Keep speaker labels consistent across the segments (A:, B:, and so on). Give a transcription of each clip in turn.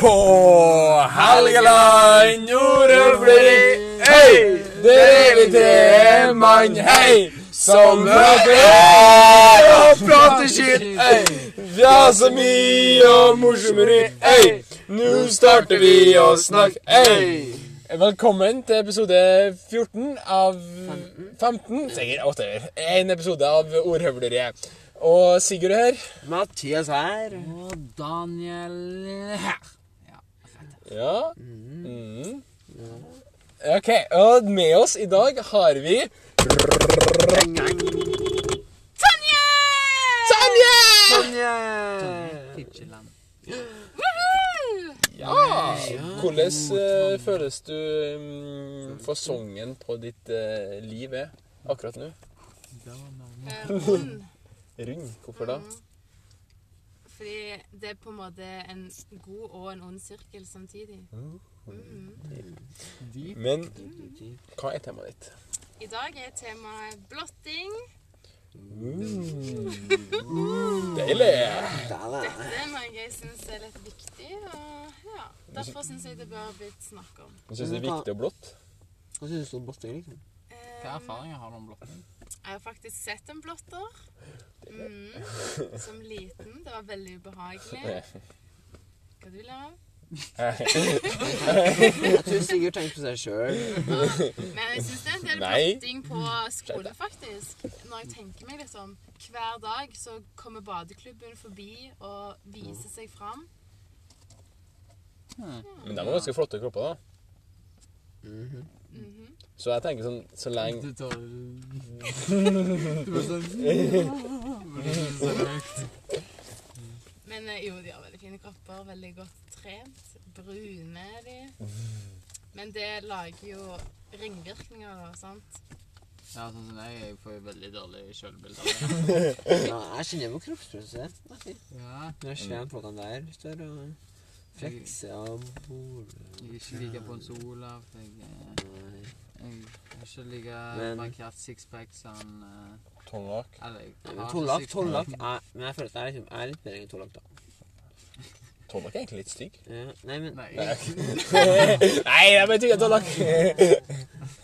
A: På Helgeland nordover blir det Hei! Der er vi tre mann, hei! Som prater hei, og prater skitt, hei! Vi har så mye og morsommere, hei! Nå starter vi å snakke, hei! Velkommen til episode 14 av 15, sikkert whatever. En episode av Ordhøvleriet. Og Sigurd er her.
B: Mathias her.
C: Og Daniel her.
A: Ja. Mhm. Ok, og med oss i dag har vi Sanje!
C: Fitcheland.
A: Ja! Ah! Hvordan eh, føles du mm, fasongen på ditt eh, liv er akkurat nå?
D: Eh, Ond.
A: Rund. Mm. Hvorfor da?
D: Fordi det er på en måte en god og en ond sirkel samtidig. Mhm.
A: Men hva er temaet ditt?
D: I dag er temaet blotting.
A: Deilig!
D: Det er noe jeg syns er litt viktig. Og ja, derfor syns jeg det bør bli snakket om.
A: Jeg syns det er viktig og blått.
B: Hva syns du om blotting, liksom?
D: Eh,
C: Hvilke erfaringer har du om blotting?
D: jeg har faktisk sett en blotter. Mhm. Som liten. Det var veldig ubehagelig. Hva du ler av?
B: Jeg tror Sigurd tenker på seg sjøl.
D: Men jeg syns det er en del
A: Nei.
D: blotting på skole, faktisk. Når jeg tenker meg litt om Hver dag så kommer badeklubben forbi og viser seg fram.
A: Men de har ganske flotte kropper, da.
D: Mhm.
A: Så jeg tenker sånn så lenge
C: Du tar Du bare sånn Så høyt.
D: Men eh, jo, de har veldig fine kropper, veldig godt trent. Brune er de. Men det lager jo ringvirkninger, da, sant?
C: Ja, sånn som jeg, jeg får jo veldig dårlig sjølbilde av det.
B: Ja, jeg kjenner på kroppsfølelse.
C: Ja,
B: Når jeg ser den flotta der står og flekser og boler
C: jeg er ikke like på en sola, for jeg, eh, jeg er ikke like
B: Men-
C: markert sixpack som eh,
A: Tonnlak.
C: Eller
B: Eh,
C: jeg har ikke
B: Tollak,
C: sixpack.
B: tollak er, Men jeg føler at jeg er, liksom, jeg er litt bedre enn tollak, da.
A: Tonnlak er egentlig litt stygg.
B: Ja, nei, men,
C: Nei.
A: Nei, jeg bare tuller. Tonnlak.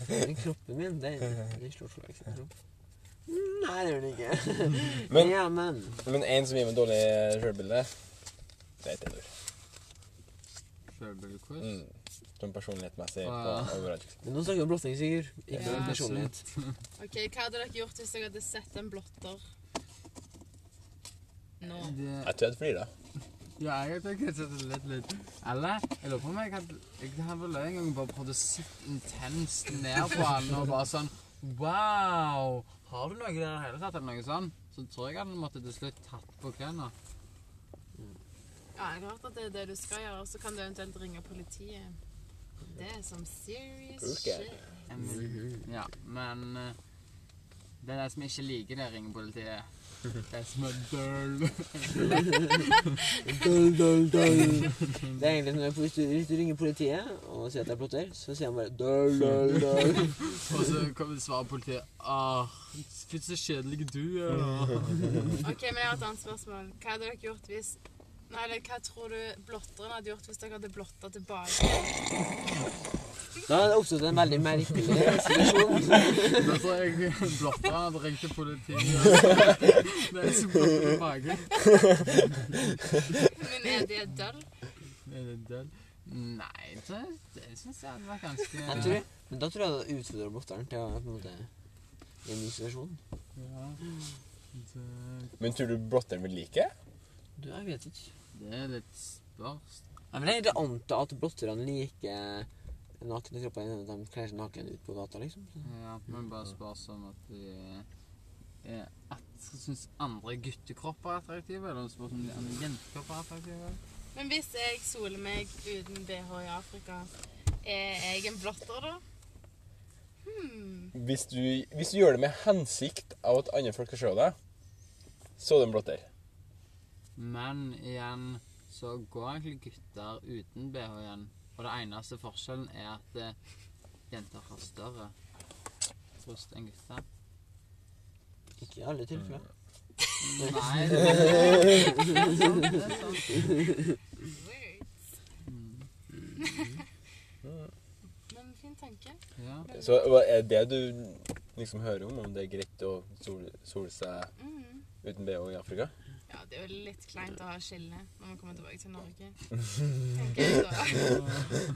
B: men kroppen min, den, den slår tollak sin kropp. Nei, det gjør den ikke.
A: Men-
B: ja, men
A: Men en som gir meg dårlig sjølbilde, det er Theodor.
C: Sjølbildekurs.
A: Mm. Sånn personlighetsmessig.
C: Ah.
A: på overalt.
B: Men nå snakker vi om blotting, Sigurd. Ikke
D: Ja.
B: om personlighet.
D: Ok, Hva hadde dere gjort hvis dere hadde sett en blotter nå?
C: Det-
A: Jeg tror jeg flirer.
C: Ja, jeg tenker jeg setter litt litt. Eller, jeg lurer på om jeg hadde Jeg hadde vel en gang bare prøvd å sitte intenst ned på han og bare sånn Wow! Har du noe i det hele tatt, eller noe sånn? Så tror jeg han måtte til slutt tatt på klærne.
D: Ja, jeg har hørt at det er det du skal gjøre, og så kan du eventuelt ringe politiet. Det er som serious
A: Ok.
D: shit.
C: Jeg men- Ja, men eh, Det er de som ikke liker det, ringer politiet. De som er døl.
B: Døll, døll, døll. Det er egentlig sånn at hvis du, hvis du ringer politiet og sier at jeg plotter, så sier han bare døll, døll, døll.
C: Og så kommer svaret politiet Åh, fy så kjedelig du er. da.»
D: Ok, men jeg har et annet spørsmål. Hva hadde dere gjort hvis Nei, eller hva tror du blotteren hadde gjort hvis dere hadde blotta tilbake?
B: Da har det oppstått en veldig merkelig situasjon.
C: Da tror jeg blotta og ringte politiet. Det er som blotter tilbake.
D: Men er det døll?
C: Er det død? Eh, Nei, det, det syns jeg hadde vært ganske
B: Jeg tror, men da tror jeg det utfordrer blotteren til å på en måte i en ny situasjon.
C: Ja. Det,
A: Men tror du blotteren vil like?
B: Du, jeg vet ikke.
C: det er litt spørs.
B: Jeg vil egentlig anta at blotterne liker nakne kropper enn at de kler seg naken ut på gata, liksom.
C: Ja, men eh, bare spørs om at de eh, at Syns andre guttekropper er attraktive? Eller spørs om de andre jentekropper er attraktive?
D: Men hvis jeg soler meg uten BH i Afrika, er jeg en blotter da? Hmm.
A: Hvis du, hvis du gjør det med hensikt av at andre folk skal se deg, så er du en blotter.
C: Men igjen så går egentlig gutter uten BH igjen. Og det eneste forskjellen er at eh, jenter har større bryst enn gutter.
B: Ikke i alle tilfeller.
C: Nei, det er sant. Det er sant.
D: Weird.
A: Mm.
D: Men fin tanke. Mm.
C: Ja.
A: Så hva er det du liksom hører om, om det er greit å sol, sole seg
D: Mm.
A: uten BH i Afrika?
D: Ja, det er jo litt kleint å ha skille når man kommer tilbake til Norge. Tenker jeg så.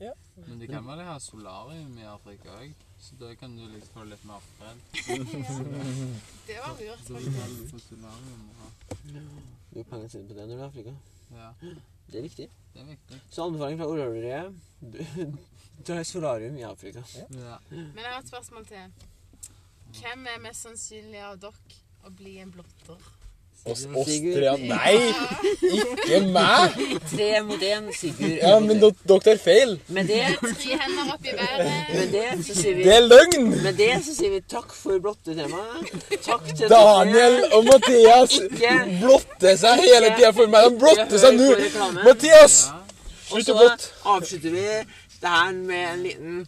B: Ja.
C: Men de kan vel ha solarium i Afrika òg, så da kan du liksom få litt mer fred.
D: Ja. Det var lurt,
C: Da
D: faktisk.
C: kan du få solarium og
B: Du har penger sine på det når du er i Afrika.
C: Ja,
B: Det er viktig.
C: det er viktig.
B: Så anbefaling fra Oraleriet Dra i solarium i Afrika.
C: Ja.
D: Men jeg har et spørsmål til. Hvem er mest sannsynlig av dere å bli en blotter?
A: Oss,
B: Sigurd.
A: oss tre? Nei! Ikke meg!
B: Tre mot én, Sigurd.
A: Ja, men do- dere tar feil.
B: med det,
D: Tre hender opp i været.
B: med det så sier vi
A: Det er løgn!
B: Med det så sier vi takk for blotte tema. Takk til
A: Daniel og Mathias
B: Ikke-
A: blotter seg hele tida for meg. De blotter seg nå.
B: Reklame.
A: Mathias!
C: ja.
B: Og
A: Slutt
B: så
A: å blotte.
B: avslutter vi det her med en liten